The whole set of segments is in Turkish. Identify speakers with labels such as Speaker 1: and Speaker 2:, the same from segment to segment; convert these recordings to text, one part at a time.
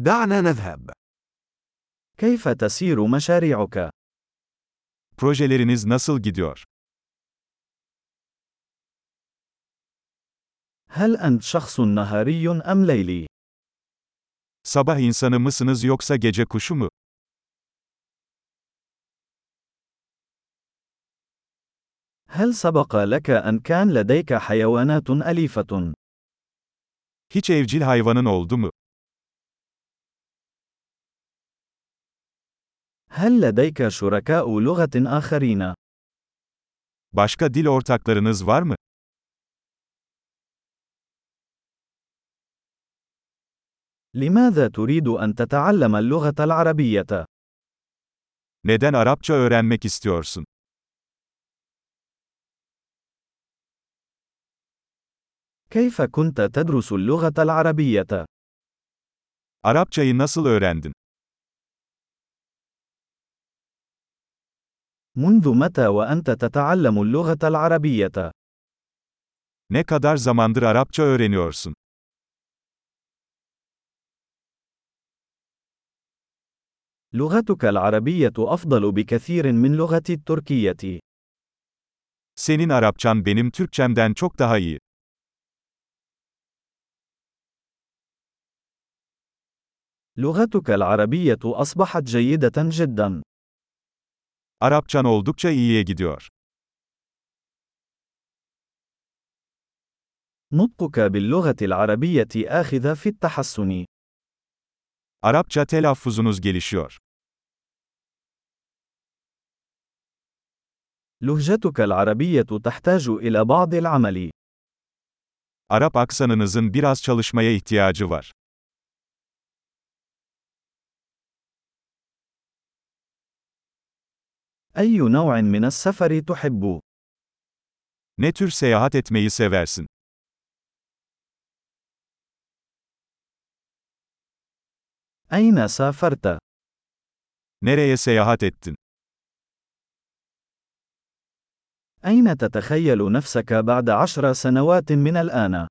Speaker 1: دعنا نذهب.
Speaker 2: كيف تسير مشاريعك؟
Speaker 3: Projeleriniz nasıl gidiyor?
Speaker 2: هل أنت شخص نهاري أم ليلي؟
Speaker 3: Sabah insanı mısınız yoksa gece kuşu mu?
Speaker 2: هل سبق لك أن كان لديك حيوانات أليفة؟
Speaker 3: Hiç evcil hayvanın oldu mu?
Speaker 2: هل لديك شركاء لغة آخرين؟
Speaker 3: Başka dil ortaklarınız var mı?
Speaker 2: لماذا تريد أن تتعلم اللغة العربية؟
Speaker 3: Neden Arapça öğrenmek istiyorsun?
Speaker 2: كيف كنت تدرس اللغة العربية؟
Speaker 3: Arapçayı nasıl öğrendin?
Speaker 2: منذ متى وأنت تتعلم اللغة العربية؟
Speaker 3: Ne kadar zamandır Arapça öğreniyorsun?
Speaker 2: لغتك العربية أفضل بكثير من لغتي التركية.
Speaker 3: Senin Arapçan benim Türkçemden çok daha iyi.
Speaker 2: لغتك العربية أصبحت جيدة جدا.
Speaker 3: Arapçan oldukça iyiye gidiyor.
Speaker 2: نطقك باللغة العربية آخذ في التحسن.
Speaker 3: Arapça telaffuzunuz gelişiyor.
Speaker 2: لهجتك العربية تحتاج إلى بعض العمل.
Speaker 3: Arap aksanınızın biraz çalışmaya ihtiyacı var.
Speaker 2: أي نوع من السفر تحب؟
Speaker 3: Ne tür seyahat etmeyi seversin?
Speaker 2: أين سافرت؟
Speaker 3: Nereye seyahat ettin?
Speaker 2: أين تتخيل نفسك بعد عشر سنوات من الآن؟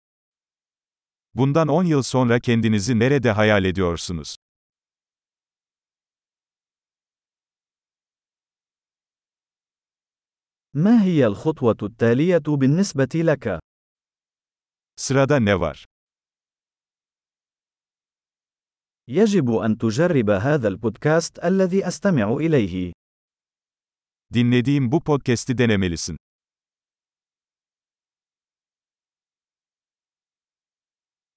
Speaker 3: Bundan 10 yıl sonra kendinizi nerede hayal ediyorsunuz?
Speaker 2: ما هي الخطوة التالية بالنسبة لك؟
Speaker 3: Sırada ne var?
Speaker 2: يجب أن تجرب هذا البودكاست الذي أستمع إليه.
Speaker 3: Dinlediğim bu podcast'i denemelisin.